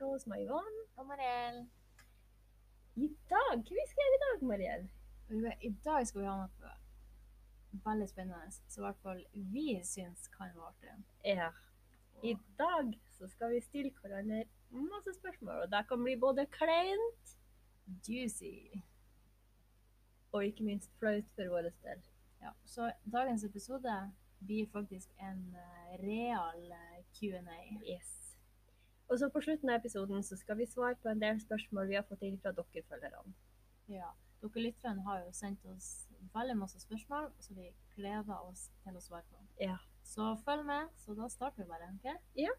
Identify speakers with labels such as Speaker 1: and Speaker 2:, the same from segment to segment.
Speaker 1: hos meg Yvonne.
Speaker 2: Og Mariell.
Speaker 1: I dag, Hva vi skal gjøre i dag, Mariell?
Speaker 2: Vet du hva, I dag skal vi ha noe veldig spennende, som i hvert fall vi syns kan være artig.
Speaker 1: Ja. I dag så skal vi stille hverandre masse spørsmål, og det kan bli både kleint
Speaker 2: Juicy.
Speaker 1: og ikke minst flaut for vår del.
Speaker 2: Ja, så dagens episode blir faktisk en eh, real eh, Q&A.
Speaker 1: Yes. Og så på slutten av episoden så skal vi svare på en del spørsmål vi har fått inn fra dere følgerne.
Speaker 2: Ja, dere lytterne har jo sendt oss veldig masse spørsmål, så vi gleder oss til å svare på.
Speaker 1: Ja.
Speaker 2: Så følg med, så da starter vi bare, ok?
Speaker 1: Ja.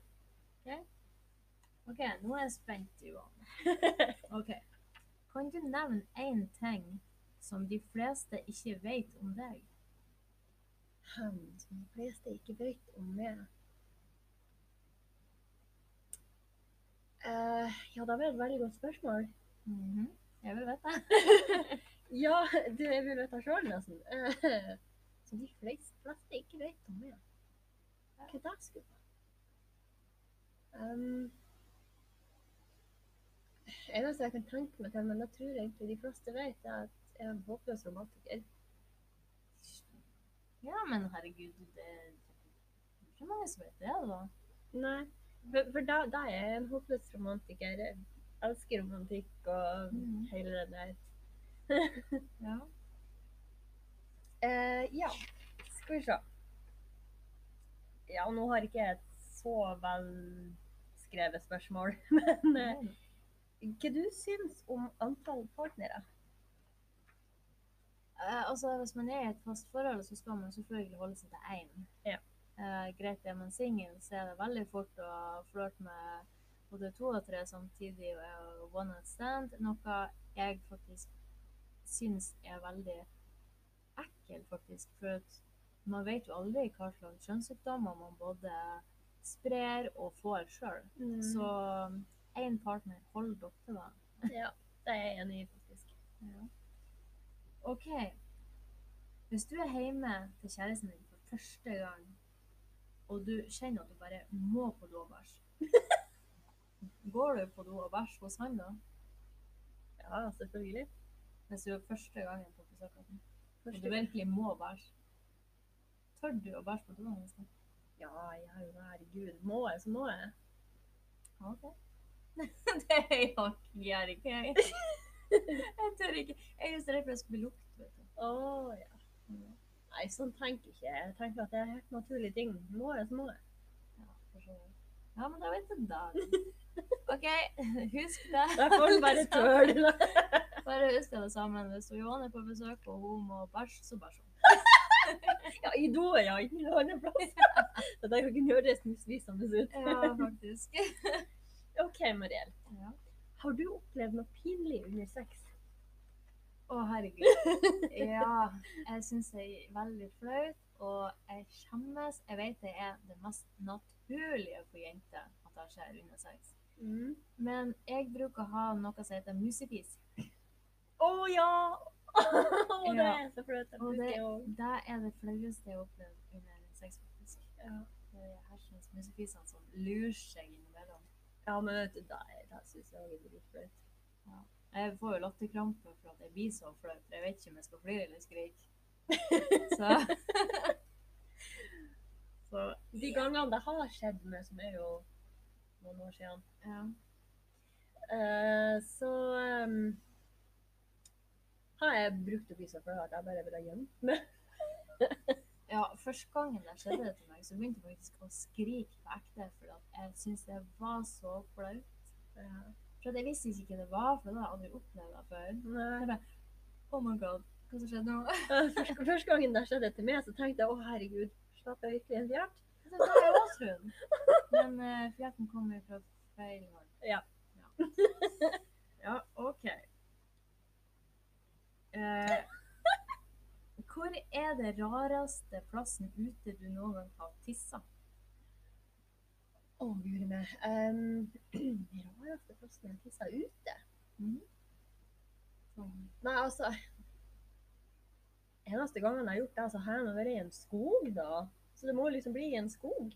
Speaker 2: Ok, Ok, nå er jeg spent, Johan. ok, kan du nevne en ting som de fleste ikke vet om deg?
Speaker 1: Han som de fleste ikke vet om meg. Eh, ja, det var et veldig godt spørsmål.
Speaker 2: Mhm, Jeg vil vite.
Speaker 1: Ja, du, jeg vil vite sjøl, nesten. Eh, Så de fleste, fleste ikke vet om meg. Hva det skulle være? Um, eneste jeg kan tenke meg til, men jeg tror egentlig de fleste vet, er at jeg er en håpløs romantiker.
Speaker 2: Ja, men herregud, det er ikke mange som vet det, da.
Speaker 1: Nei, for, for da, da er jeg en håpløs romantiker. Jeg elsker romantikk og
Speaker 2: Mhm.
Speaker 1: hele den der.
Speaker 2: Ja.
Speaker 1: Eh, ja, skal vi se. Ja, nå har ikke jeg et så vel skrevet spørsmål, men eh,
Speaker 2: Nei.
Speaker 1: hva du syns om antall partnere?
Speaker 2: Eh, altså, hvis man er i et fast forhold, så skal man selvfølgelig holde seg til én.
Speaker 1: Ja.
Speaker 2: Eh, greit er man singel, så er det veldig fort å flørte med både to og tre samtidig og one night stand, noe jeg faktisk syns er veldig ekkel, faktisk. For at man vet jo aldri hva slags kjønnssykdommer man både sprer og får sjøl.
Speaker 1: Mm.
Speaker 2: Så én Mm. partner, hold dere til det.
Speaker 1: Ja, det er jeg enig i, faktisk.
Speaker 2: Ja. OK. Hvis du er hjemme til kjæresten din for første gang, og du kjenner at du bare må på do og bæsj, går du på do og bæsj hos han da?
Speaker 1: Ja, selvfølgelig.
Speaker 2: Hvis du er første gangen på besøk hos han, og du
Speaker 1: Første gang.
Speaker 2: virkelig må bæsj, tør du å bæsje på doen hans? da?
Speaker 1: Ja, jeg er jo herregud. Må jeg, så må jeg.
Speaker 2: Ja, OK. det gjør jeg ikke. Jeg Jeg tør ikke. Jeg er så redd for at jeg skal bli lukt, vet du.
Speaker 1: Å, ja. Nei, sånn tenker ikke jeg. Jeg tenker at det er helt naturlige ting. Må jeg, så må jeg.
Speaker 2: Ja, for så vidt. Ja, men da vet du det. OK, husk det.
Speaker 1: Da får du bare tøle.
Speaker 2: Bare husk det sammen. Hvis Johan er på besøk og hun må bæsje, så bæsj hun.
Speaker 1: Ja, i do, ja. Ikke noe annet plass. Det der kan ikke høres misvisende ut.
Speaker 2: Ja, faktisk.
Speaker 1: OK, Mariell.
Speaker 2: Ja.
Speaker 1: Har du opplevd noe pinlig under sex?
Speaker 2: Å, herregud. Ja. Jeg syns det er veldig flaut, og jeg skjemmes. Jeg vet det er det mest naturlige for jenter at det skjer under sex.
Speaker 1: Mm.
Speaker 2: Men jeg bruker å ha noe som heter musefis.
Speaker 1: Å ja! Å, det
Speaker 2: Ja.
Speaker 1: er så flaut. Jeg
Speaker 2: Og
Speaker 1: bruker
Speaker 2: det-
Speaker 1: jo
Speaker 2: Det er det flaueste jeg har opplevd under sex, faktisk.
Speaker 1: ja.
Speaker 2: Det er hersens musefisene som lurer seg innimellom.
Speaker 1: ja, men vet du, det, det syns jeg også er dritflaut.
Speaker 2: Jeg får jo latterkrampe for at jeg blir så flau, for jeg vet ikke om jeg skal flire eller skrike. Så
Speaker 1: Så de gangene det har skjedd med, som er jo noen år siden,
Speaker 2: ja.
Speaker 1: eh, så ehm, har jeg brukt å bli så flau at jeg bare vil ha gjemt meg.
Speaker 2: ja, første gangen det skjedde det til meg, så begynte jeg faktisk å skrike på ekte, for at jeg syntes det var så flaut. For at jeg visste ikke hva det var, for det hadde jeg aldri opplevd det før.
Speaker 1: Nei.
Speaker 2: Oh my god, hva som skjedde nå?
Speaker 1: Første, Eh, første gangen det skjedde til meg, så tenkte jeg å herregud, slapp jeg virkelig en fjert?
Speaker 2: Det var jeg også trodd. Men uh, fjerten kom jo fra feil hold.
Speaker 1: Ja.
Speaker 2: Ja, ja OK. Eh, hvor er det rareste plassen ute du noen gang har tissa?
Speaker 1: Å, guri meg. Um, rareste plassen jeg tissa ute? Nei, altså Eneste gangen jeg har gjort det, så har jeg nå vært i en skog, da. Så det må liksom bli i en skog.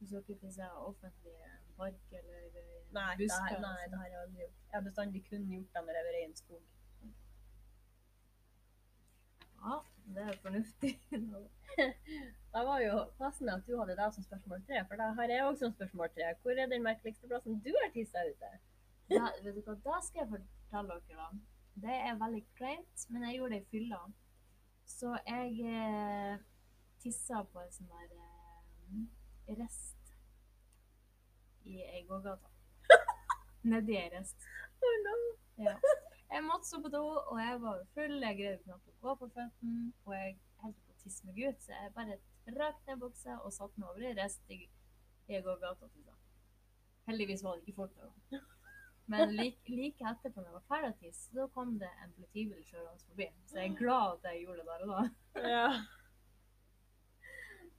Speaker 2: Du skal ikke tisse offentlig i en park eller eh, i
Speaker 1: Nei, det her,
Speaker 2: Busker,
Speaker 1: nei,
Speaker 2: altså.
Speaker 1: det her har jeg aldri gjort. Jeg har bestandig kun gjort det når jeg har vært i en skog.
Speaker 2: Ja, det er fornuftig.
Speaker 1: Det var jo passende at du hadde det som spørsmål tre, for det har jeg òg som spørsmål tre. Hvor er den merkeligste plassen du har tissa ute?
Speaker 2: Da, vet du hva, da skal jeg fortelle dere, da. Det er veldig kleint, men jeg gjorde det i fylla. Så jeg eh, tissa på en sånn der eh, rest i ei gågate. Nedi ei rest.
Speaker 1: Å, nei.
Speaker 2: Jeg måtte stå på do, og jeg var jo full. Jeg greide knapt å gå på føttene. Og jeg holdt på å tisse meg ut, så jeg bare trakk ned buksa og satte meg over i resten i- i gågata. Liksom. Heldigvis var det ikke folk der. Men like, like etterpå, når jeg var ferdig å tisse, så kom det en politibil kjørende forbi. Så jeg er glad at jeg gjorde det der og da.
Speaker 1: Ja.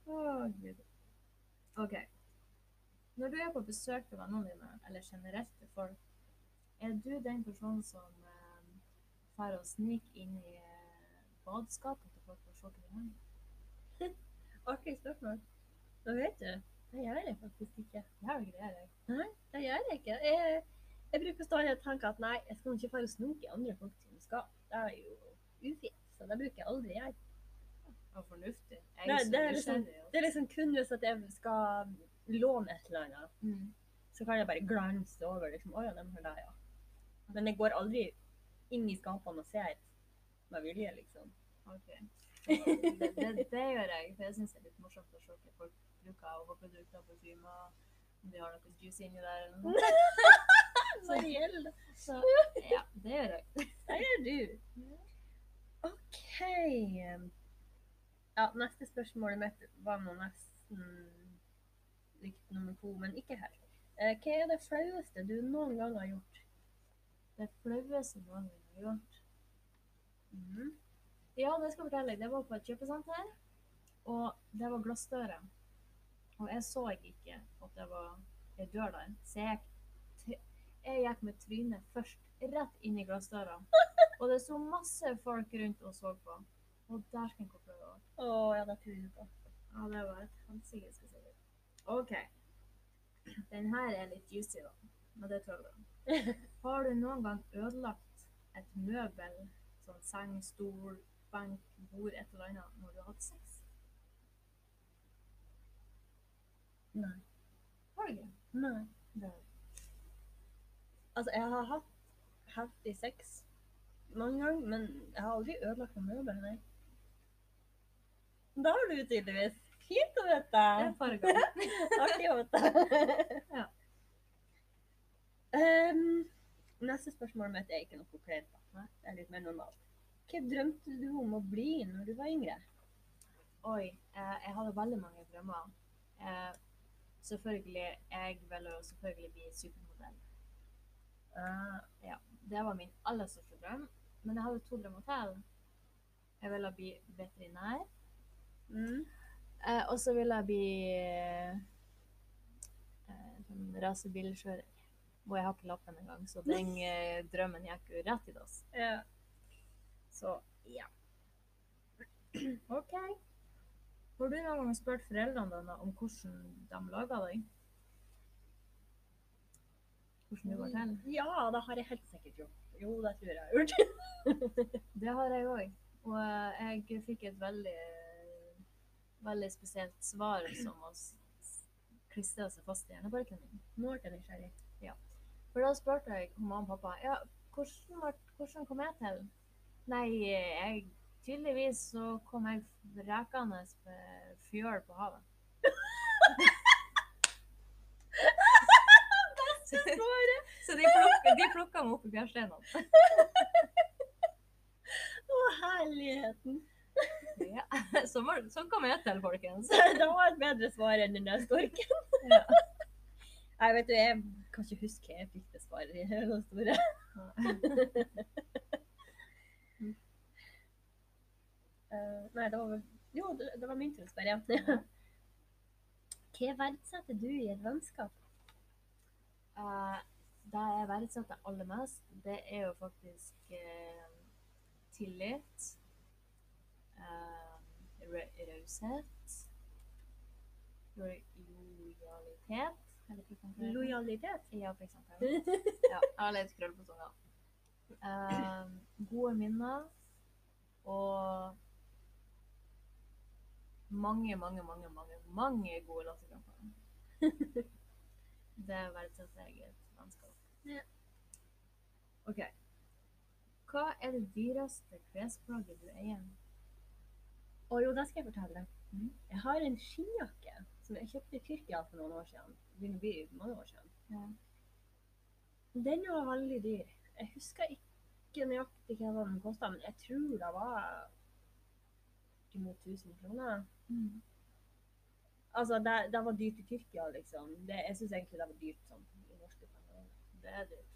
Speaker 2: Åh, Gud. OK. Når du er på besøk til vennene dine, eller generelt til folk, er du den personen som eh, drar og sniker inn i eh, badeskapet til folk for å se hva de har?
Speaker 1: Artig spørsmål. Da vet du. Det gjør jeg faktisk ikke.
Speaker 2: Det her greier jeg.
Speaker 1: Det gjør jeg ikke. Jeg, jeg bruker stadig å tenke at nei, jeg skal nå ikke fare og snoke i andre folk sine skap. Det er jo ufint, så det bruker jeg aldri jeg.
Speaker 2: Og fornuftig. Jeg
Speaker 1: Nei,
Speaker 2: er så
Speaker 1: det er liksom-
Speaker 2: nysgjerrig, altså. og-
Speaker 1: Det er liksom kun hvis at jeg skal låne et eller annet,
Speaker 2: Mm.
Speaker 1: så kan jeg bare glanse over liksom, å ja, dem har det, ja. Men jeg går aldri inn i skapene og ser med vilje, liksom.
Speaker 2: Ok. Det, det, det gjør jeg, for jeg syns det er litt morsomt å se hva folk bruker av hårprodukter og parfymer. Om de har noe juice inni der eller noe.
Speaker 1: Så gjelder det.
Speaker 2: Så ja, det gjør jeg.
Speaker 1: Det gjør du. OK. Ja, neste spørsmål mitt var nå nesten likt nummer to, men ikke her. Eh, Hva er det flaueste du noen gang har gjort?
Speaker 2: Det flaueste noen gang har gjort.
Speaker 1: Mm.
Speaker 2: Ja, det skal jeg fortelle. deg. Det var på et kjøpesenter, og det var glassdører. Og jeg så ikke at det var ei dør der, så jeg gikk, t- jeg gikk med trynet først rett inn i glassdøra. Og det sto masse folk rundt og så på. Og der skal jeg gå prøve å
Speaker 1: Å, ja, det tror jeg på.
Speaker 2: Ja, det var et hansikes spesielt. OK. Den her er litt juicy, da. Men det tåler du. Har du noen gang ødelagt et møbel, sånn seng, stol, benk, bord, et eller annet, når du har hatt sex?
Speaker 1: Nei.
Speaker 2: Har du ikke?
Speaker 1: Nei.
Speaker 2: Det.
Speaker 1: Altså, jeg har hatt heftig sex mange ganger, men jeg har aldri ødelagt noen møbel, nei. Da har du tydeligvis. Fint å vite.
Speaker 2: Det er farga.
Speaker 1: Artig å vite.
Speaker 2: Ja.
Speaker 1: Ehm, neste spørsmål mitt er ikke noe kleint. da.
Speaker 2: Nei.
Speaker 1: Det er litt mer normalt. Hva drømte du om å bli når du var yngre?
Speaker 2: Oi, eh, jeg hadde veldig mange drømmer. Eh, selvfølgelig, jeg ville jo selvfølgelig bli supermodell. Ja, det var min aller største drøm. Men jeg hadde to drømmer til. Jeg ville bli veterinær.
Speaker 1: Mm.
Speaker 2: Eh, og så vil jeg bli eh, sånn rasebilkjører. Og jeg har ikke lappen engang, så den eh, drømmen gikk jo rett i dass.
Speaker 1: Ja.
Speaker 2: Så ja. OK. Har du noen gang spurt foreldrene dine om hvordan de laga deg? Hvordan du går til?
Speaker 1: ja, det har jeg helt sikkert gjort. Jo, det tror jeg jeg har gjort.
Speaker 2: Det har jeg òg. Og eh, jeg fikk et veldig, veldig spesielt svar som har s- s- klistra seg fast i hjernebarken min.
Speaker 1: Nå ble jeg nysgjerrig.
Speaker 2: For da spurte jeg hun mamma og pappa ja, hvordan, var, hvordan kom jeg til? Nei, jeg, tydeligvis så kom jeg rekende med fjøl på havet. så,
Speaker 1: Svaret!
Speaker 2: så de plukka, de plukka meg opp i fjærsteinene.
Speaker 1: Å, herligheten!
Speaker 2: Ja. Sånn var- sånn kom jeg til, folkens.
Speaker 1: Det var et bedre svar enn den der storken.
Speaker 2: Ja.
Speaker 1: Jeg vet du, jeg kan ikke huske hva jeg fikk det svaret i det store. Eh, nei, det var vel Jo, det, det var min tur å spørre, ja. Hva verdsetter du i et vennskap?
Speaker 2: Eh, Det jeg verdsetter aller mest, det er jo faktisk eh, tillit, eh, ra- raushet, lo- lojalitet Eller for
Speaker 1: Eh.
Speaker 2: konkurrerende.
Speaker 1: Lojalitet.
Speaker 2: Ja, for eksempel. Ja, jeg har litt krøll på tunga. Eh, gode minner og mange, mange, mange, mange, mange gode latterkamper. Det verdsetter jeg i et vennskap.
Speaker 1: Ja.
Speaker 2: OK. Hva er det dyreste klesplagget du eier?
Speaker 1: Å jo, det skal jeg fortelle deg.
Speaker 2: Mhm.
Speaker 1: Jeg har en skinnjakke som jeg kjøpte i Tyrkia for noen år siden. Det begynner å bli mange år siden.
Speaker 2: Ja.
Speaker 1: Den var veldig dyr. Jeg husker ikke nøyaktig hva den kosta, men jeg tror det var bortimot 1000 kroner. Altså, det, det var dyrt i Tyrkia, liksom. Det, jeg syns egentlig det var dyrt sånn i norske penger.
Speaker 2: Det er dyrt.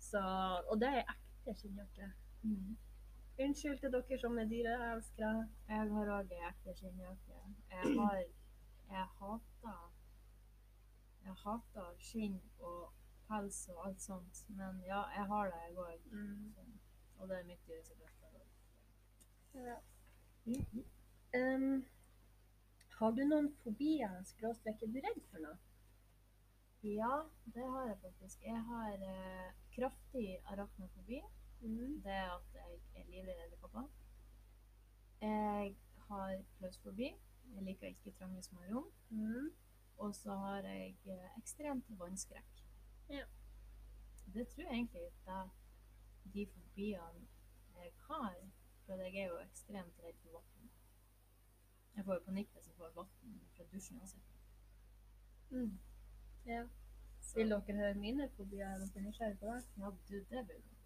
Speaker 1: Så, og det er ekte skinnjakke. Unnskyld til dere som er dyreelskere.
Speaker 2: Jeg har òg ei ekte skinnjakke. Jeg har Jeg hater Jeg hater skinn og pels og alt sånt, men ja, jeg har det, jeg òg.
Speaker 1: Mm.
Speaker 2: Og det er mitt dyreste klesplagg.
Speaker 1: Ja. Em, har du noen fobier? Skråstrek, er du redd for noe?
Speaker 2: Ja, det har jeg faktisk. Jeg har eh, kraftig arachnofobi.
Speaker 1: Mm.
Speaker 2: Det er at jeg er livredd edderkopper. Jeg har klausfobi. Jeg liker ikke trange små rom.
Speaker 1: Mm.
Speaker 2: Og så har jeg eh, ekstremt vannskrekk.
Speaker 1: Ja.
Speaker 2: Det tror jeg egentlig det er de fobiene jeg har. For jeg er jo ekstremt redd for vann. Jeg får jo panikk hvis jeg får vann fra dusjen uansett.
Speaker 1: Mm. Ja.
Speaker 2: Så-
Speaker 1: Vil dere høre mine fobier? Er dere nysgjerrige på det?
Speaker 2: Ja, du, det blir bra.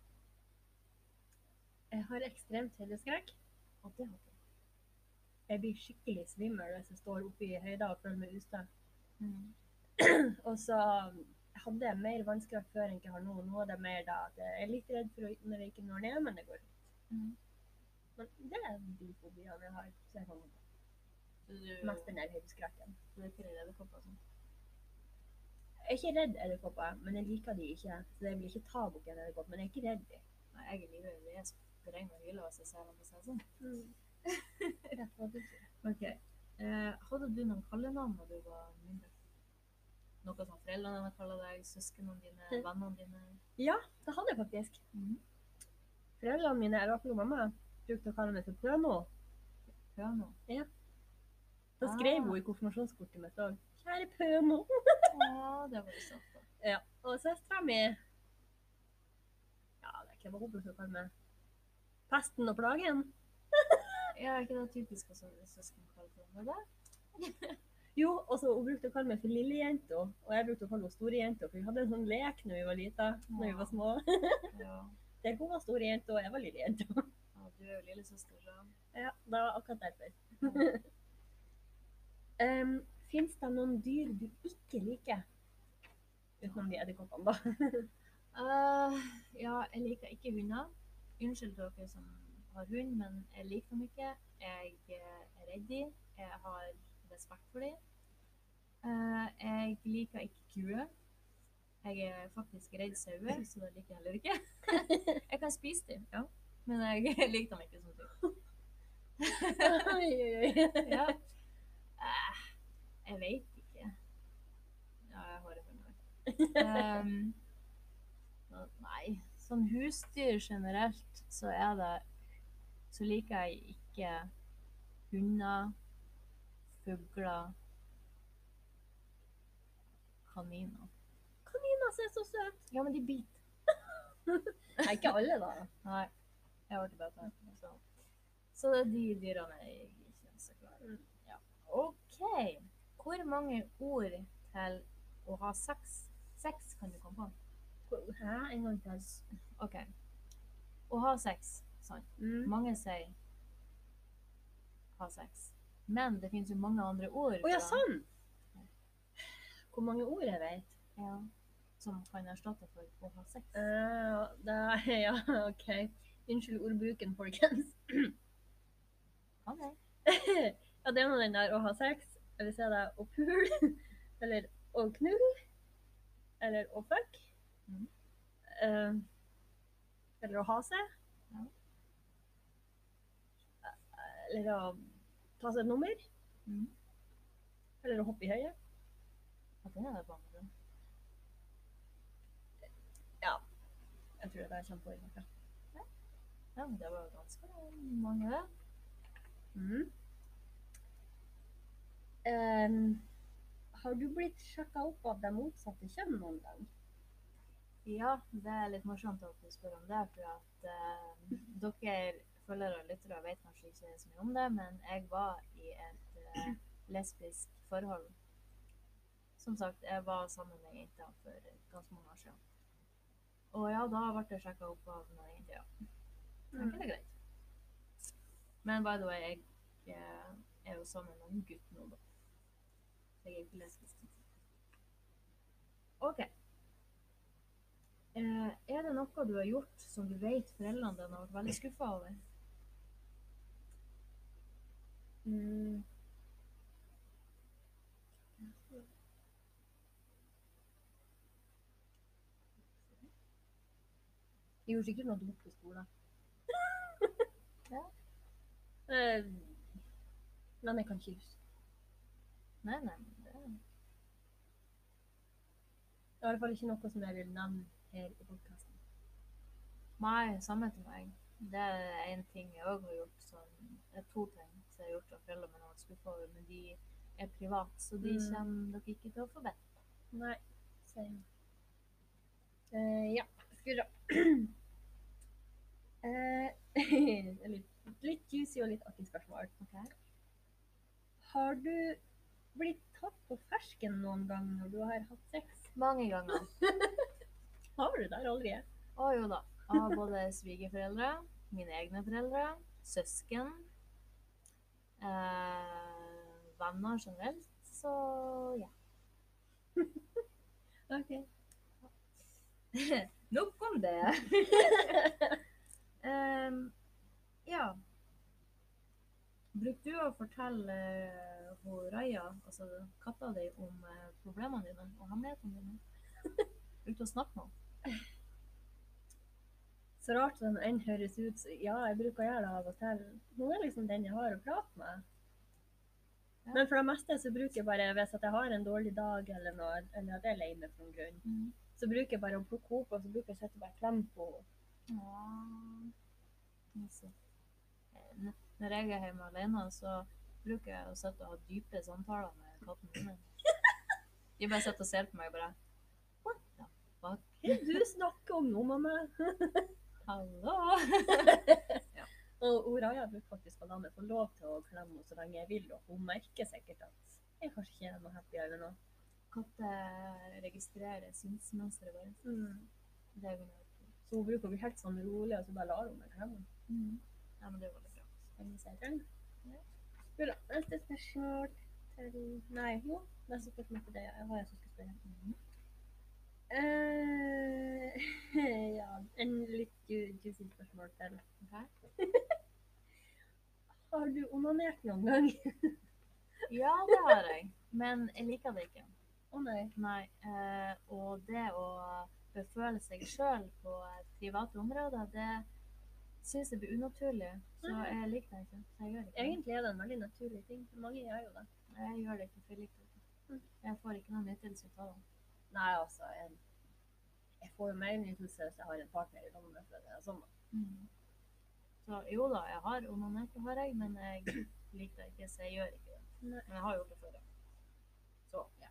Speaker 1: Jeg har ekstremt høydeskrekk.
Speaker 2: Og det har jeg.
Speaker 1: Jeg blir skikkelig svimmel hvis jeg står oppe i høyda og føler meg ustø.
Speaker 2: Mm.
Speaker 1: Og så um, hadde jeg mer vannskrekk før enn jeg har nå. Nå er det mer da at jeg er litt redd for å når jeg ikke når ned, men det går.
Speaker 2: Mm.
Speaker 1: Men det er de fobiene jeg har. Så jeg kan
Speaker 2: Så du,
Speaker 1: mest den der høydeskrekken.
Speaker 2: du er ikke redd edderkopper og sånn?
Speaker 1: Jeg er ikke redd edderkopper, men jeg liker de ikke. Så jeg vil ikke ta bort en edderkopp, men jeg er ikke redd de.
Speaker 2: Nei, jeg er livredd. Jeg sprenger hylla hvis jeg ser dem på seg sånn.
Speaker 1: Rett hva du sier.
Speaker 2: Ok. Eh, hadde du noen kallenavn da du var mindre? Noe som foreldrene dine kaller deg, søsknene dine,
Speaker 1: Mhm.
Speaker 2: vennene dine?
Speaker 1: Det hadde jeg faktisk.
Speaker 2: Mhm.
Speaker 1: Foreldrene mine, i hvert fall mamma, brukte å kalle meg for Pøno.
Speaker 2: Hør nå.
Speaker 1: Da skrev
Speaker 2: Ah.
Speaker 1: hun i konfirmasjonskortet mitt òg 'Kjære Pøno'.
Speaker 2: Å, det var jo sant. da.
Speaker 1: Og søstera mi Ja, det er ikke hva hun bruker å kalle meg. Pesten og plagen.
Speaker 2: Ja, er ikke det typisk også søsken kaller hverandre det?
Speaker 1: Jo, og så hun brukte å kalle meg for lillejenta, og jeg brukte å kalle henne storejenta, for vi hadde en sånn lek når vi var lita, når vi var små.
Speaker 2: Ja.
Speaker 1: Der hun var storejente og jeg var lillejenta.
Speaker 2: ja, du er jo lillesøster, så.
Speaker 1: Ja, det var akkurat derfor. Um, Fins det noen dyr du ikke liker? Utenom de edderkoppene, da.
Speaker 2: Eh, ja, jeg liker ikke hunder. Unnskyld til dere som har hund, men jeg liker dem ikke. Jeg eh, er redd dem. Jeg har respekt for dem. Eh, jeg liker ikke kuer. Jeg er faktisk redd sauer, så det liker jeg heller ikke. Jeg kan spise dem, ja. men jeg liker dem ikke som dyr.
Speaker 1: Oi, oi, oi.
Speaker 2: Ja. Eh, jeg vet ikke. Ja, jeg har det for meg. Ehm, så- nei, som husdyr generelt så er det Så liker jeg ikke hunder, fugler, kaniner.
Speaker 1: Kanina ser så søt
Speaker 2: Ja, men de biter.
Speaker 1: Nei, ikke alle, da.
Speaker 2: Nei, jeg ble bare tatt. Så. sånn. så det er de dyrene jeg ikke er så glad i.
Speaker 1: Mm.
Speaker 2: Ja. OK. Hvor mange ord til å ha sex, sex kan du komme på?
Speaker 1: Hæ? En gang til.
Speaker 2: OK. Å ha sex, sant.
Speaker 1: Mm.
Speaker 2: Mange sier ha sex. Men det finnes jo mange andre ord
Speaker 1: Å ja,
Speaker 2: for det,
Speaker 1: sånn! Hvor mange ord jeg vet?
Speaker 2: ja, som kan erstatte for å ha sex.
Speaker 1: Eh, det er, ja, OK. Unnskyld ordbruken, folkens.
Speaker 2: Kan jeg?
Speaker 1: ja, det er nå den der å ha sex, eller så er det å pule, eller å knulle, eller å fuck. Mm.
Speaker 2: Mhm.
Speaker 1: Eh, eller å ha seg.
Speaker 2: Ja.
Speaker 1: Eller å ta seg et nummer.
Speaker 2: Mhm.
Speaker 1: Eller å hoppe i høyet.
Speaker 2: Ja, det er det bare.
Speaker 1: Jeg tror det er kjempeår.
Speaker 2: Ja, men det var jo ganske mange, det.
Speaker 1: Mm. Em, Um, har du blitt sjekka opp av det motsatte kjønn noen gang?
Speaker 2: Ja, det er litt morsomt at du spør om det, for at eh, dere følgere og lyttere vet kanskje ikke så mye om det, men jeg var i et eh, lesbisk forhold. Som sagt, jeg var sammen med ei jente for ganske mange år siden. Og ja, da ble jeg sjekka opp av noen jenter, ja.
Speaker 1: Mm.
Speaker 2: Det er ikke det greit. Men by the way, jeg eh, er jo sammen med en gutt nå, da. Jeg er ikke lesbisk. OK. Eh, er det noe du har gjort som du vet foreldrene dine har vært veldig skuffa over?
Speaker 1: Mm. Jeg gjorde sikkert noe dumt på skolen.
Speaker 2: Ja.
Speaker 1: Eh, Men jeg kan ikke huske.
Speaker 2: Nei, nei, men det
Speaker 1: Det er i hvert fall ikke noe som jeg vil nevne her i podkasten.
Speaker 2: Nei, samme til meg. Det er én ting jeg òg har gjort som Det er to ting som jeg har gjort som foreldrene mine har vært skuffa over, men de er private, så de
Speaker 1: Mm.
Speaker 2: kommer dere ikke til å få vite.
Speaker 1: Nei, sier jeg. Eh, ja, skal vi se. Eh, litt, litt juicy og litt artig spørsmål.
Speaker 2: Ok?
Speaker 1: Har du blitt tatt på fersken noen gang når du har hatt sex?
Speaker 2: Mange ganger.
Speaker 1: Har du det? Aldri.
Speaker 2: Å jo da. Jeg har både svigerforeldre, mine egne foreldre, søsken eh, Venner generelt, så ja.
Speaker 1: Ok.
Speaker 2: Nok om det. Ehm, ja. Brukte du å fortelle eh, hun Raja, altså katta di, om eh, problemene dine og hemmelighetene dine? Brukte du å snakke med henne?
Speaker 1: Så rart som den høres ut, så ja, jeg bruker å gjøre det av og til. Hun er liksom den jeg har å prate med.
Speaker 2: Ja.
Speaker 1: Men for det meste så bruker jeg bare, hvis at jeg har en dårlig dag eller noe, eller at jeg er lei meg for noen grunn,
Speaker 2: Mm.
Speaker 1: så bruker jeg bare å plukke opp, og så bruker jeg å sette bare klem på henne.
Speaker 2: Skal vi se. Eh, n- Når jeg er hjemme alene, så bruker jeg å sitte og ha dype samtaler med katten min. De bare sitter og ser på meg og bare What the fuck?
Speaker 1: Hva er det Du snakker om noe, mamma.
Speaker 2: Hallo?
Speaker 1: Og hun Raja bruker faktisk å la meg få lov til å klemme henne så lenge jeg vil, og hun merker sikkert at jeg kanskje ikke er noe happy eller noe.
Speaker 2: Katter registrerer synsmønsteret vårt.
Speaker 1: Mm.
Speaker 2: Det er jo noe.
Speaker 1: Så hun bruker å bli helt sånn rolig, og så bare lar hun meg klemme henne.
Speaker 2: Ja, men det var veldig bra.
Speaker 1: Hvis jeg trenger. Skal vi da, Neste spørsmål til Nei, jo. Neste spørsmål til deg. Jeg har jeg som skal spørre.
Speaker 2: Mm.
Speaker 1: Eh, ja, en litt ju- juicy spørsmål til.
Speaker 2: Ok.
Speaker 1: Har du onanert noen gang?
Speaker 2: Ja, det har jeg. Men jeg liker det ikke.
Speaker 1: Å nei.
Speaker 2: Nei, eh, og det å beføle seg sjøl på eh, private områder, det syns jeg blir unaturlig. Så
Speaker 1: Nei.
Speaker 2: jeg liker det ikke. Så jeg gjør ikke det.
Speaker 1: Egentlig er det en veldig naturlig ting. Mange gjør jo det.
Speaker 2: Jeg gjør det ikke, for jeg liker det ikke.
Speaker 1: Mm.
Speaker 2: Jeg får ikke noe nytelse ut av det.
Speaker 1: Nei, altså. Jeg, jeg får jo mer nytelse hvis jeg har en partner i landet. For det er sånn.
Speaker 2: Så jo da, jeg har onanert, det har jeg, men jeg liker det ikke, så jeg gjør ikke det.
Speaker 1: Nei.
Speaker 2: Men jeg har gjort det før, ja. Så, ja.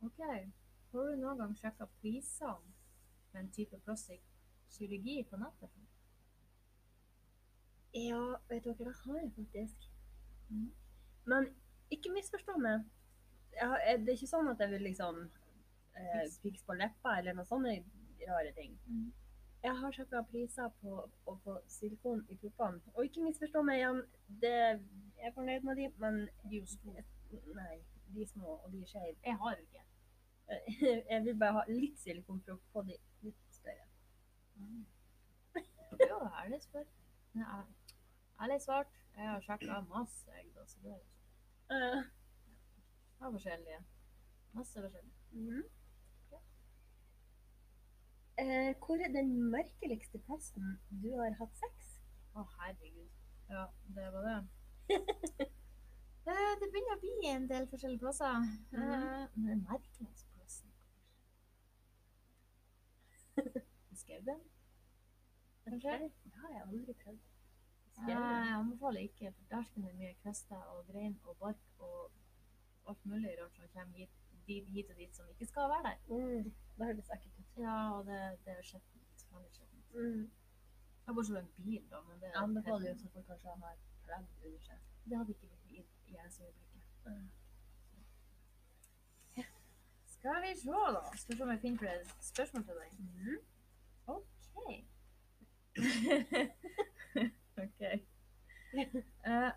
Speaker 2: OK. Har du noen gang sjekka priser med en type plastikk kirurgi på nettet?
Speaker 1: Ja, vet dere, det har jeg faktisk.
Speaker 2: Mhm.
Speaker 1: Mm. Men ikke misforstå meg. Jeg, har- jeg, det er ikke sånn at jeg vil liksom eh,
Speaker 2: Fiks.
Speaker 1: fikse på leppa eller noe sånne rare ting.
Speaker 2: Mhm.
Speaker 1: Jeg har sjekka priser på å få silikon i puppene. Og ikke misforstå meg igjen, det, jeg er fornøyd med de, men
Speaker 2: De er jo store.
Speaker 1: nei, de er små, og de er skeive.
Speaker 2: Jeg har ikke.
Speaker 1: Jeg vil bare ha litt silikonpropp på de litt større.
Speaker 2: Jo, ærlig spør. Nei, æ- Ærlig svart. Jeg har sjekka masse, jeg, da. Så det er jo
Speaker 1: Eh,
Speaker 2: jeg har forskjellige. Masse forskjellige.
Speaker 1: Mhm. Eh, hvor er den merkeligste plassen du har hatt sex?
Speaker 2: Å, herregud. Ja, det var det. Eh, Det begynner å bli en del forskjellige plasser. Eh,
Speaker 1: Mhm.
Speaker 2: Men merkelighetsplassen prøvd den?
Speaker 1: Men
Speaker 2: Kanskje? Ah.
Speaker 1: det har jeg aldri prøvd. Skal
Speaker 2: Jeg
Speaker 1: jeg gjøre det?
Speaker 2: anbefaler ikke, for der finner du mye kvister og grein og bark og alt mulig rart som kommer hit, dit, hit og dit som ikke skal være der.
Speaker 1: Mm, det høres ekkelt ut.
Speaker 2: Ja, og det, det er skjettent. Veldig skjettent.
Speaker 1: Mm.
Speaker 2: Jeg har bare så en bil, da, men det
Speaker 1: Jeg anbefaler jo så folk kanskje har plagg under seg.
Speaker 2: Det hadde ikke vi i gjerdesøyeblikket.
Speaker 1: Mm.
Speaker 2: Skal vi se, da. Skal vi se om jeg finner flere spørsmål til deg.
Speaker 1: Mm.
Speaker 2: OK. OK. Eh,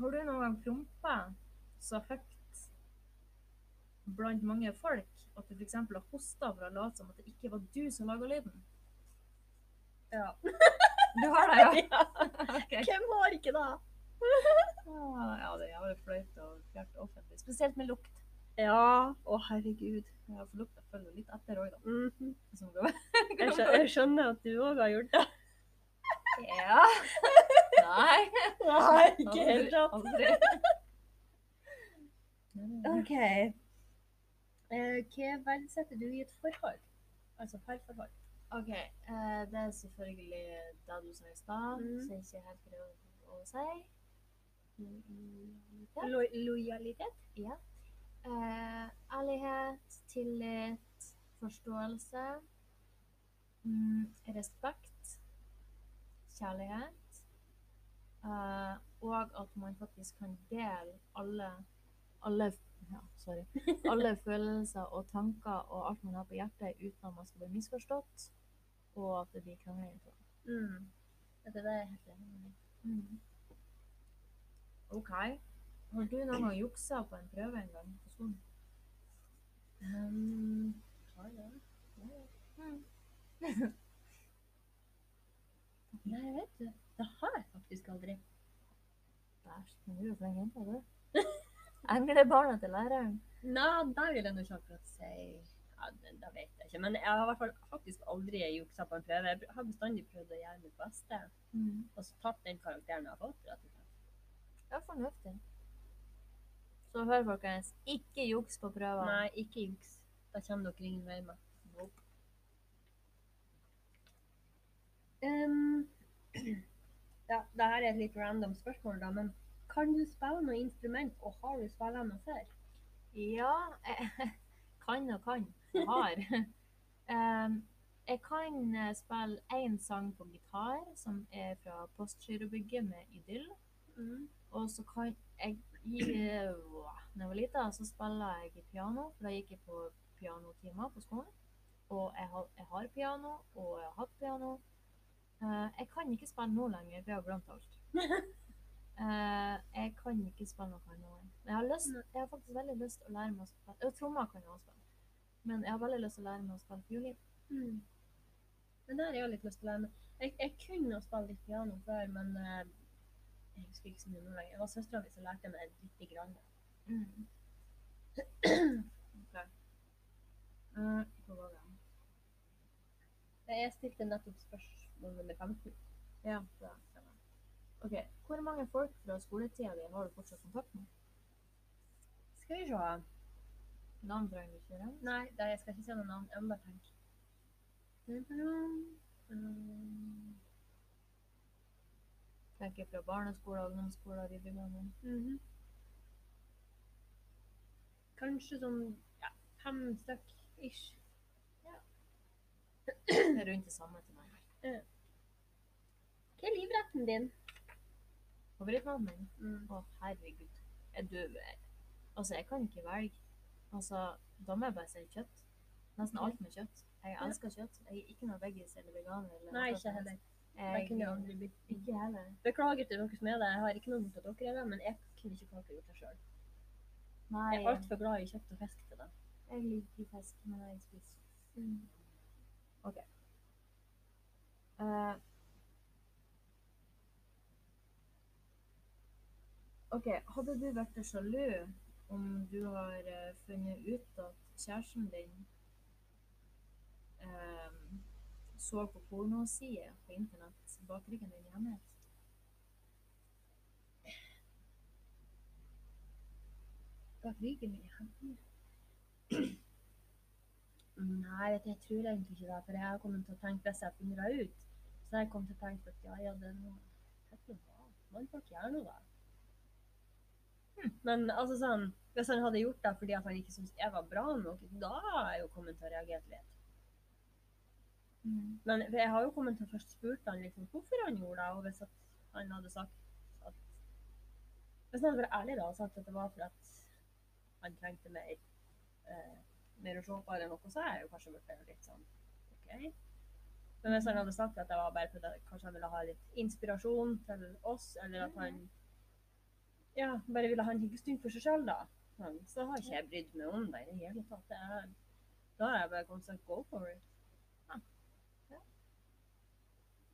Speaker 2: har du noen gang prompa så høyt blant mange folk at du f.eks. har hosta for å late som at det ikke var du som laga lyden?
Speaker 1: Ja.
Speaker 2: Du har det, ja?
Speaker 1: ja.
Speaker 2: OK.
Speaker 1: Hvem har ikke det?
Speaker 2: Ah, ja, det er jævlig flaut å fjerne offentlig. Spesielt med lukt.
Speaker 1: Ja. Å, herregud.
Speaker 2: Ja, for lukta følger litt etter òg, da.
Speaker 1: Mhm.
Speaker 2: Som går.
Speaker 1: Jeg, skjønner, jeg skjønner at du òg har gjort det.
Speaker 2: Ja. Nei.
Speaker 1: Nei,
Speaker 2: Aldri- Aldri.
Speaker 1: OK. Eh, hva verdsetter du i et forhold? Altså parforhold.
Speaker 2: OK. eh, det er selvfølgelig det du sa i stad,
Speaker 1: Mm.
Speaker 2: som ikke er helt greit å, å si. Mm, mm, ja.
Speaker 1: Lo lojalitet?
Speaker 2: Ja. Eh, ærlighet, tillit, forståelse. Mm, respekt. Kjærlighet. Eh, og at man faktisk kan dele alle alle, ja, sorry, alle følelser og tanker og alt man har på hjertet, uten at man skal bli misforstått, og at det blir krangling. på det.
Speaker 1: Mm. Vet du, det er jeg helt enig med.
Speaker 2: Mm. OK. Har du noen gang juksa på en prøve en gang på skolen?
Speaker 1: Um, har det? Nei, vet du. Det har jeg faktisk aldri.
Speaker 2: Bæsj, men du er jo flink jente, du. Englebarnet til læreren.
Speaker 1: Nei, det vil jeg nå ikke akkurat si. Ja, det, det vet jeg ikke. Men jeg har i hvert fall faktisk aldri juksa på en prøve. Jeg har bestandig prøvd å gjøre mitt beste, og så tatt den karakteren jeg har fått. rett og slett.
Speaker 2: Det er fornuftig. Så hør, folkens. Ikke juks på prøver.
Speaker 1: Nei, ikke juks. Da kommer dere ingen vei med.
Speaker 2: Nope.
Speaker 1: Um, ja, det her er et litt random spørsmål, da, men kan du spille noe instrument, og har du spilt noe før?
Speaker 2: Ja, jeg kan og kan. Jeg har. Em, jeg kan eh, spille én sang på gitar, som er fra Postgirobygget med Idyll. Og så kan jeg Da jeg var lita, så spilte jeg piano. For da gikk jeg på pianotimer på skolen. Og jeg har, jeg har piano, og jeg har hatt piano. Eh, jeg kan ikke spille nå lenger, for jeg har glemt alt. Eh, jeg kan ikke spille noe annet. lenger. Men jeg har, lyst,
Speaker 1: Nei.
Speaker 2: jeg har faktisk veldig lyst til å lære meg å spille Og trommer kan jeg også spille. Men jeg har veldig lyst til å lære meg å spille fiolin.
Speaker 1: Mm. Men der har jeg litt lyst til å lære meg. Jeg, jeg kunne å spille litt piano før, men eh, jeg husker ikke så mye nå lenger. Det var søstera mi som lærte meg lite grann.
Speaker 2: Mm. Ok. Eh, hvor var det?
Speaker 1: Jeg stilte nettopp spørsmål nummer 15.
Speaker 2: Ja, bra. stemmer. Ok, Hvor mange folk fra skoletida di har du fortsatt kontakt med?
Speaker 1: Skal vi se.
Speaker 2: Navn trenger du ikke nevne.
Speaker 1: Nei, det, jeg skal ikke si noe navn. Jeg må bare tenke. Mm.
Speaker 2: Tenker fra barneskole, ungdomsskole, videregående.
Speaker 1: Mhm. Kanskje sånn ja, fem stykk ish.
Speaker 2: Det er rundt det samme til meg.
Speaker 1: Hva er livretten din?
Speaker 2: Favorittmannen min?
Speaker 1: Mm.
Speaker 2: Å, herregud. Er du Altså, jeg kan ikke velge. Altså, da må jeg bare si kjøtt. Nesten
Speaker 1: Ok.
Speaker 2: alt med kjøtt. Jeg elsker kjøtt. Jeg er ikke noe veggis eller veganer. Eller
Speaker 1: Nei,
Speaker 2: noe
Speaker 1: ikke
Speaker 2: som
Speaker 1: heller.
Speaker 2: helst.
Speaker 1: Det kunne jeg
Speaker 2: Jeg,
Speaker 1: aldri blitt.
Speaker 2: ikke heller.
Speaker 1: Beklager til dere som er det. Jeg har ikke noe mot at dere er det, men jeg kunne ikke klart å gjort det sjøl.
Speaker 2: Nei,
Speaker 1: Jeg er altfor glad i kjøtt og fisk til det.
Speaker 2: jeg liker fisk, men jeg spiser Eh, OK. Hadde du vært sjalu om du har eh, funnet ut at kjæresten din eh, så på pornosider på internett bak ryggen din i hemmelighet?
Speaker 1: Bak ryggen min? Nei, vet du, jeg tror egentlig ikke det. For jeg har kommet til å tenke hvis jeg finner det ut. Så jeg kom til å tenke at ja, ja, det er noe Hva er det nå? Mannfolk gjør noe, da. Men altså sånn, hvis han hadde gjort det fordi at han ikke syntes jeg var bra nok, da er jeg jo kommet til å reagere litt.
Speaker 2: Mm.
Speaker 1: Men for jeg har jo kommet til å først spurt han liksom hvorfor han gjorde det, og hvis at han hadde sagt at Hvis han hadde vært ærlig da og sagt at det var for at han trengte mer, eh, mer å se på eller noe, så er jeg jo kanskje blitt litt sånn OK. Men hvis han hadde sagt at det var bare fordi at kanskje han ville ha litt inspirasjon til oss, eller at han ja, bare ville ha en hyggestund for seg sjøl, da, sånn, så har ikke jeg brydd meg om det i det hele tatt. Det er- Da har jeg bare kommet til å go for it.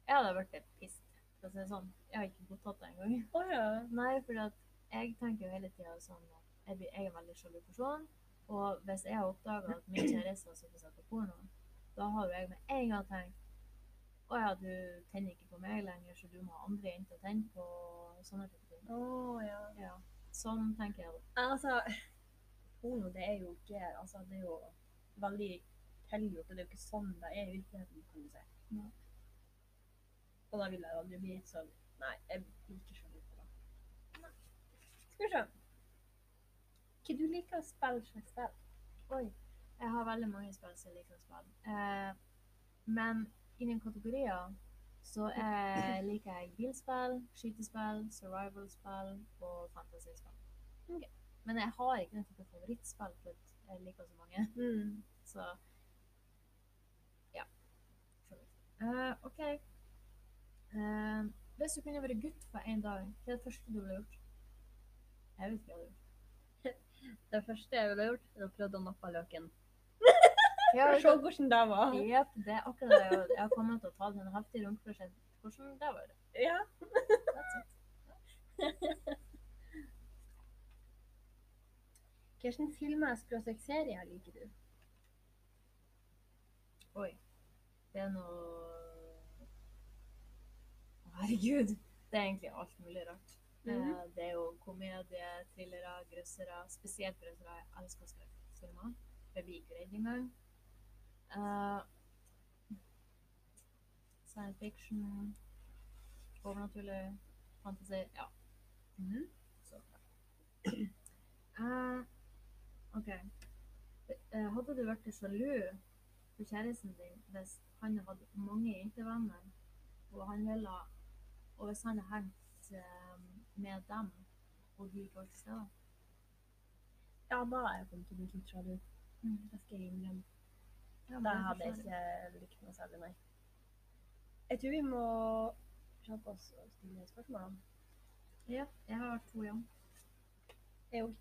Speaker 2: Jeg hadde blitt pissed, for å si det sånn. Jeg har ikke godtatt det engang.
Speaker 1: Å ja.
Speaker 2: Nei, for at jeg tenker jo hele tida sånn at jeg, blir, jeg er en veldig sjalu person. Og hvis jeg har oppdaga at min kjæreste har sittet og sett på porno, da har jo jeg med en gang tenkt Å ja, du tenner ikke på meg lenger, så du må ha andre jenter å tenne på. og Sånne type ting.
Speaker 1: Å, ja.
Speaker 2: Ja. Sånn tenker jeg. da.
Speaker 1: Altså, porno det er jo ikke altså, Det er jo veldig tilgjort, og det er jo ikke sånn det er i virkeligheten, kan du si.
Speaker 2: Nei.
Speaker 1: Og da vil jeg jo aldri bli så Nei, jeg blir ikke sånn så lite da. Skal vi se. Hva du liker å spille slags spill?
Speaker 2: Oi. Jeg har veldig mange spill som jeg liker å spille. Eh, men innen kategorier så eh, liker jeg bilspill, skytespill, survival-spill og fantasy-spill.
Speaker 1: Ok.
Speaker 2: Men jeg har ikke noe type favorittspill, for at jeg liker så mange.
Speaker 1: Mm.
Speaker 2: Så ja. For så vidt. Eh, OK. Eh, hvis du kunne vært gutt for én dag, hva er det første du ville gjort? Jeg vet ikke hva du gjort.
Speaker 1: Det første jeg ville gjort, er å prøve å nappe løken.
Speaker 2: Ja,
Speaker 1: For å se hvordan det var.
Speaker 2: Jep, det er akkurat det. jeg- Jeg har kommet til å ta den heftige rundkursen. Hvordan det var det?
Speaker 1: Ja.
Speaker 2: That's it.
Speaker 1: Hvilke filmer skråstrek serier liker du?
Speaker 2: Oi. Det er noe Å, Herregud. Det er egentlig alt mulig rart.
Speaker 1: Mhm.
Speaker 2: Eh, Det er jo komedie, thrillere, grøssere. Spesielt grøssere. Jeg elsker skrekkfilmer. Jeg blir ikke redd engang. Eh, Science fiction, overnaturlig, fantasy Ja.
Speaker 1: Mm.
Speaker 2: Så. Eh, OK. Eh, Hadde du vært sjalu på kjæresten din hvis han hadde mange jentevenner, og han ville Og hvis han hadde hengt eh, med dem, og du ikke var til stede?
Speaker 1: Ja, da er jeg kommet til å bli litt sjalu. Det skal jeg innrømme.
Speaker 2: Ja,
Speaker 1: Det
Speaker 2: men
Speaker 1: Mm. hadde jeg
Speaker 2: forstår
Speaker 1: ikke likt noe særlig, nei. Jeg tror vi må slappe oss og stille spørsmålene.
Speaker 2: det. Ja, jeg har vært to igjen.
Speaker 1: Jeg òg.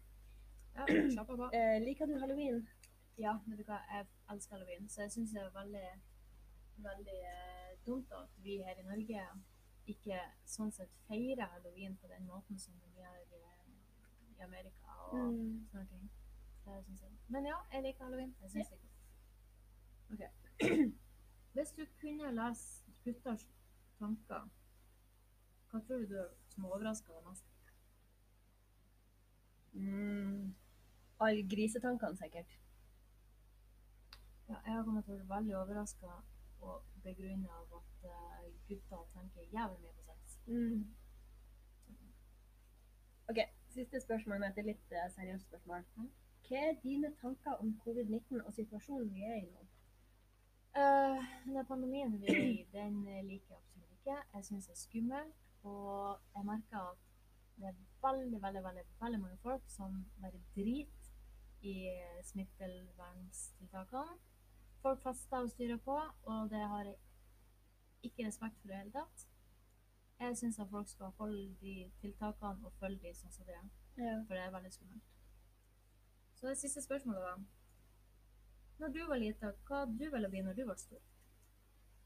Speaker 2: Ja, slapp av. bare.
Speaker 1: Eh, liker du halloween?
Speaker 2: Ja, vet du hva, jeg elsker halloween, så jeg syns det er veldig, veldig eh, dumt at vi her i Norge ikke sånn sett feirer halloween på den måten som de gjør i, i Amerika og
Speaker 1: Mm.
Speaker 2: sånne ting. Det syns jeg. Men ja, jeg liker halloween. Jeg syns det er godt. Ok. Hvis du kunne lese gutters tanker, hva tror du du- som overrasker deg mest?
Speaker 1: Mm. Alle grisetankene, sikkert.
Speaker 2: Ja, jeg har kommet til å bli veldig overraska og begrunna av at eh, gutter tenker jævlig mye på sex.
Speaker 1: Mm. OK, siste spørsmål, men et litt eh, seriøst spørsmål.
Speaker 2: Mm.
Speaker 1: Hva er dine tanker om covid-19 og situasjonen vi er i nå?
Speaker 2: Eh, den pandemien vi er i, den liker jeg absolutt ikke. Jeg syns det er skummelt. Og jeg merker at det er veldig, veldig, veldig, veldig mange folk som bare driter i smitteverntiltakene. Folk fester og styrer på, og det har jeg ikke respekt for i det hele tatt. Jeg syns at folk skal holde de tiltakene og følge de sånn som det er, for det er veldig skummelt. Så det siste spørsmålet var Når du var lita, hva du ville bli når du ble stor?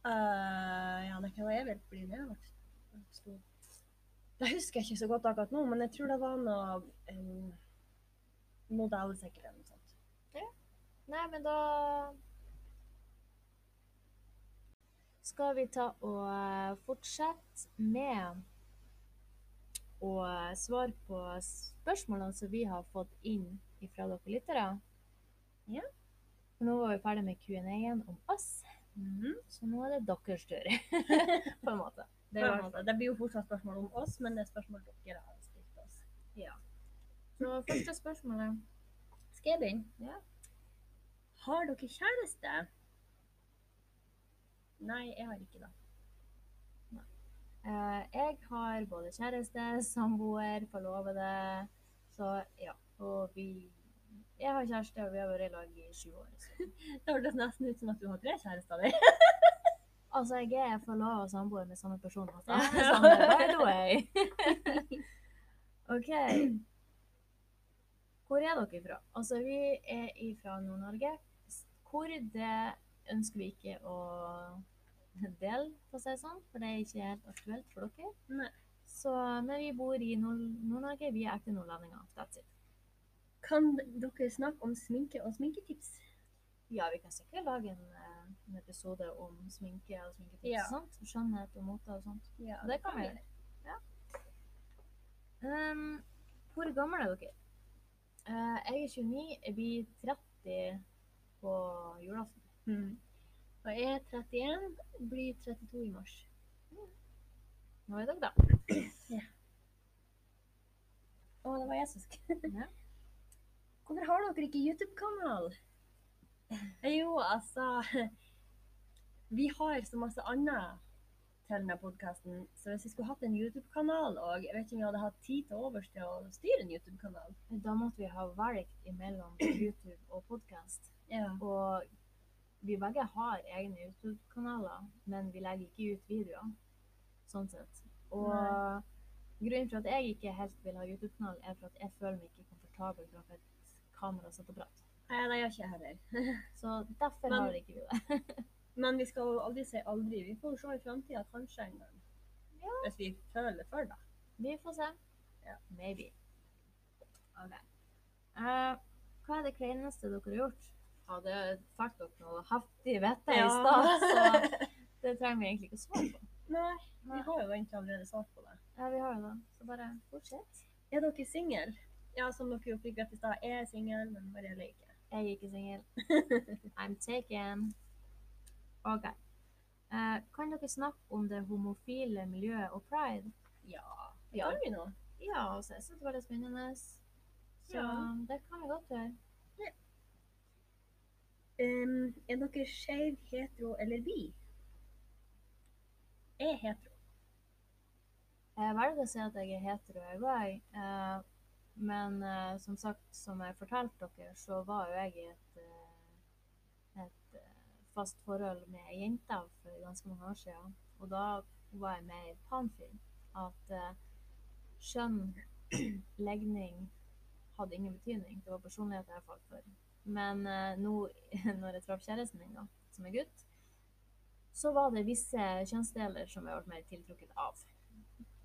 Speaker 1: Eh, ja, det kan jeg vel bli når jeg ble stor. Det husker jeg ikke så godt akkurat nå, men jeg tror det var noe um, modell sikkert eller noe sånt.
Speaker 2: Nei, men da skal vi ta og eh, fortsette med å eh, svare på spørsmålene som vi har fått inn fra dere lyttere.
Speaker 1: Ja.
Speaker 2: For nå var vi ferdig med Q&A-en om oss,
Speaker 1: Mhm.
Speaker 2: så nå er det deres tur. på en måte.
Speaker 1: Det,
Speaker 2: Det var,
Speaker 1: det blir jo fortsatt spørsmål om oss, men det er spørsmål dere har stilt oss.
Speaker 2: så første spørsmålet
Speaker 1: Skal jeg begynne?
Speaker 2: Ja.
Speaker 1: Har dere kjæreste? Nei, jeg har ikke det.
Speaker 2: Eh, jeg har både kjæreste, samboer, forlovede, så ja. Og vi Jeg har kjæreste, og vi har vært i lag i sju år. Så.
Speaker 1: Det hørtes nesten ut som at du har tre kjærester. Der.
Speaker 2: Altså, jeg er forlova og samboer med samme person. Altså.
Speaker 1: Ja.
Speaker 2: Samme, by the way. OK. Hvor er dere fra? Altså, vi er fra Nord-Norge. Hvor, det ønsker vi ikke å dele, for å si det sånn. For det er ikke helt aktuelt for dere.
Speaker 1: Nei.
Speaker 2: Så, men vi bor i Nord- Nord-Norge. Vi er ekte nordlendinger. That's it.
Speaker 1: Kan dere snakke om sminke og sminketips?
Speaker 2: Ja, vi kan sikkert lage en, eh, en episode om sminke og sminketips
Speaker 1: Ja.
Speaker 2: og sånt. Skjønnhet og mote og sånt.
Speaker 1: Ja,
Speaker 2: Det kan vi gjøre. Ja. Ehm, hvor gammel er dere? Eh, jeg er 29. Jeg blir 30 på julaften.
Speaker 1: Mm. Og jeg er 31, blir 32 i mars.
Speaker 2: Nå er dere da.
Speaker 1: Å, det var jeg som skrev.
Speaker 2: Ja.
Speaker 1: Hvorfor har dere ikke YouTube-kanal? Jo, altså Vi har så masse annet til denne podkasten, så hvis vi skulle hatt en YouTube-kanal og Jeg vet ikke om vi hadde hatt tid til overs til å styre en YouTube-kanal.
Speaker 2: Da måtte vi ha valgt imellom YouTube og podkast.
Speaker 1: Ja.
Speaker 2: Og vi begge har egne YouTube-kanaler, men vi legger ikke ut videoer. Sånn sett. Og
Speaker 1: Nei.
Speaker 2: grunnen til at jeg ikke helt vil ha YouTube-kanal, er for at jeg føler meg ikke komfortabel framfor et kamera satt og prat.
Speaker 1: Nei, det gjør ikke jeg heller.
Speaker 2: Så derfor
Speaker 1: Men-
Speaker 2: har ikke vi det.
Speaker 1: Men vi skal jo aldri si aldri. Vi får jo se i framtida, kanskje en gang.
Speaker 2: Ja.
Speaker 1: Hvis vi føler for det.
Speaker 2: Vi får se.
Speaker 1: Ja.
Speaker 2: Maybe. Ok. Eh, hva er det kleineste dere har gjort? Ja, det fikk dere noe heftig vette i stad, så det trenger vi egentlig ikke å svare på.
Speaker 1: Nei, vi
Speaker 2: Nei.
Speaker 1: har jo egentlig allerede svart på det.
Speaker 2: Ja, vi har jo det. Så bare fortsett.
Speaker 1: Er dere singel? Ja, som dere jo fikk vite i stad, jeg er singel, men Marielle er ikke.
Speaker 2: Jeg er ikke singel. I'm taken. OK. Eh, kan dere snakke om det homofile miljøet og pride?
Speaker 1: Ja.
Speaker 2: Ja.
Speaker 1: Kan vi nå?
Speaker 2: Ja, altså, jeg synes det var litt spennende. Så
Speaker 1: Ja.
Speaker 2: det kan vi godt gjøre.
Speaker 1: Ehm, er dere skeiv, hetero eller bi? Jeg er hetero.
Speaker 2: Jeg velger å si at jeg er hetero, jeg òg. Eh, men eh, som sagt, som jeg fortalte dere, så var jo jeg i et, eh, et eh, fast forhold med ei jente for ganske mange år siden. Og da var jeg med i et panfilm. At eh, skjønn, legning, hadde ingen betydning. Det var personlighet jeg falt for. Men eh, nå, når jeg traff kjæresten min, da, som er gutt, så var det visse kjønnsdeler som jeg ble mer tiltrukket av.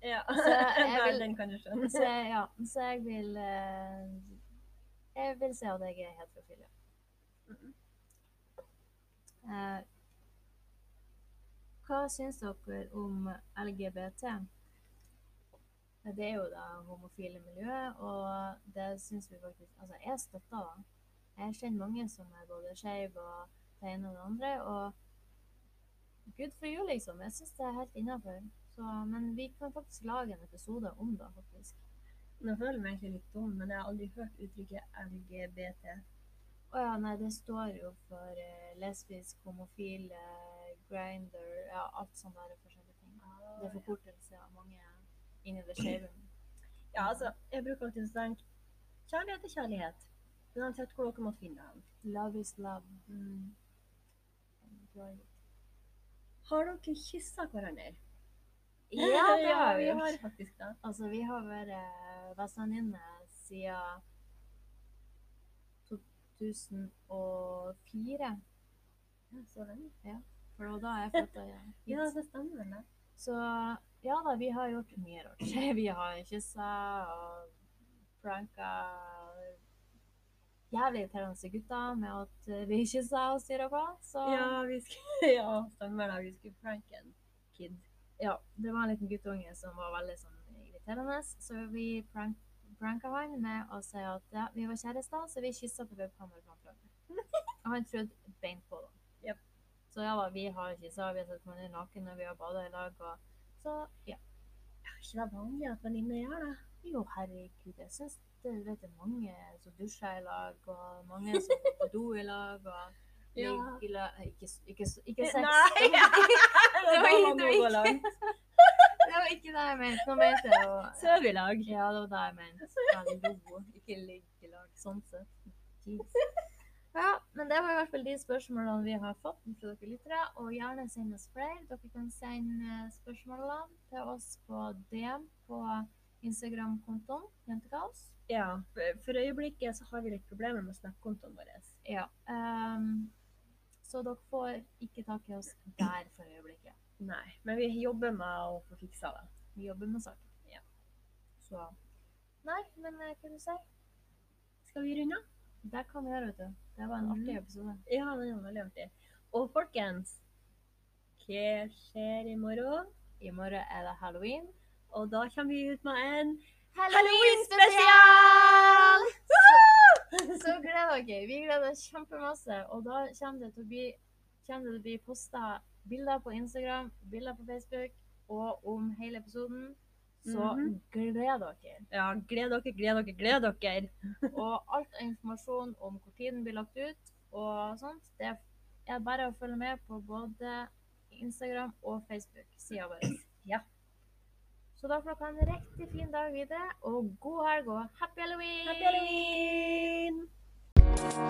Speaker 1: Ja,
Speaker 2: Så jeg
Speaker 1: Nei,
Speaker 2: vil-
Speaker 1: den kan du skjønne.
Speaker 2: Så jeg- ja, så jeg vil eh, Jeg vil si at jeg er heterofil, ja.
Speaker 1: Mhm.
Speaker 2: Eh, hva syns dere om LGBT? Det er jo det homofile miljøet, og det syns vi faktisk Altså, jeg støtter det. Jeg kjenner mange som er både skeive og det ene og det andre, og good for you, liksom. Jeg syns det er helt innafor. Men vi kan faktisk lage en episode om det, faktisk.
Speaker 1: Nå føler jeg meg egentlig litt dum, men jeg har aldri hørt uttrykket LGBT.
Speaker 2: Å ja, nei, det står jo for eh, lesbisk, homofil, eh, grinder, ja, alt sånne der forskjellige ting. Det er forkortelse av mange inni det skeive.
Speaker 1: Ja, altså, jeg bruker alltid å tenke kjærlighet er kjærlighet. Uansett hvor dere måtte finne den.
Speaker 2: Love is love.
Speaker 1: Mm.
Speaker 2: Right.
Speaker 1: Har dere kyssa hverandre?
Speaker 2: Ja, det
Speaker 1: Ja,
Speaker 2: har vi
Speaker 1: vi
Speaker 2: gjort.
Speaker 1: har faktisk det.
Speaker 2: Altså, vi har vært eh, bestevenninner siden 2004,
Speaker 1: Ja, Så lenge.
Speaker 2: for det var da jeg flytta hit.
Speaker 1: Ja, det stemmer vel det.
Speaker 2: Så ja da, vi har gjort mye rart. Vi har kyssa og pranka jævlig irriterende gutter med at vi kyssa og styra på. Så ja.
Speaker 1: Ja, vi skulle, ja, stemmer det. Vi skulle pranke en kid.
Speaker 2: det var en liten guttunge som var veldig sånn irriterende, så vi prank, pranka han med å si at ja, vi var kjærester, så vi kyssa på webkamera framfor hverandre. Og han trodde beint på det.
Speaker 1: Jep.
Speaker 2: Så ja, da, vi har kyssa, vi har sett hverandre naken og vi har bada i lag. Og så ja.
Speaker 1: Er ikke det vanlig at venninner gjør det?
Speaker 2: Jo, herregud, jeg syns det, vet, det er mange som dusjer i lag, og mange som går på do i lag. og
Speaker 1: Ja. Eh,
Speaker 2: ligger i lag. eh, Ikke, s- ikke, s- ikke sex.
Speaker 1: Nei!
Speaker 2: Det
Speaker 1: Da
Speaker 2: var
Speaker 1: må
Speaker 2: ikke-
Speaker 1: man gå
Speaker 2: det var
Speaker 1: langt.
Speaker 2: Det var ikke det jeg mente. Nå mente jeg å
Speaker 1: Sov i lag.
Speaker 2: Ja, det var det jeg mente. Hallo, ikke ligg i lag. Sånn sett. Jeez. Ja, men det var i hvert fall de spørsmålene vi har fått fra dere lyttere. Og gjerne send oss flere. Dere kan sende eh, spørsmålene til oss på DM på Instagram-kontoen Jentekaos.
Speaker 1: Ja, for- for øyeblikket så har vi litt problemer med Snap-kontoen vår.
Speaker 2: Ja. ehm, så dere får ikke tak i oss der for øyeblikket.
Speaker 1: Nei, men vi jobber med å få fiksa det.
Speaker 2: Vi jobber med saken.
Speaker 1: Ja.
Speaker 2: Så Nei, men eh, hva du sier?
Speaker 1: Skal vi runde av?
Speaker 2: Det kan vi gjøre, vet du. Det
Speaker 1: Mhm.
Speaker 2: var en artig episode.
Speaker 1: Ja, det var veldig artig. Og folkens, hva skjer i morgen?
Speaker 2: I morgen er det halloween.
Speaker 1: Og da kommer vi ut med en
Speaker 2: Halloween-spesial! Så gleder dere. Vi gleder oss kjempemasse. Og da kommer det til å bli, kommer det til å bli posta bilder på Instagram, bilder på Facebook, og om hele episoden. Så
Speaker 1: Mhm.
Speaker 2: gled dere.
Speaker 1: Ja, gled dere, gled dere, gled dere.
Speaker 2: Og alt av informasjon om hvor tiden blir lagt ut og sånt, det er bare å følge med på både Instagram og Facebook-sida vår.
Speaker 1: Ja.
Speaker 2: Så da får dere ha en riktig fin dag videre, og god helg og happy halloween!
Speaker 1: Happy halloween!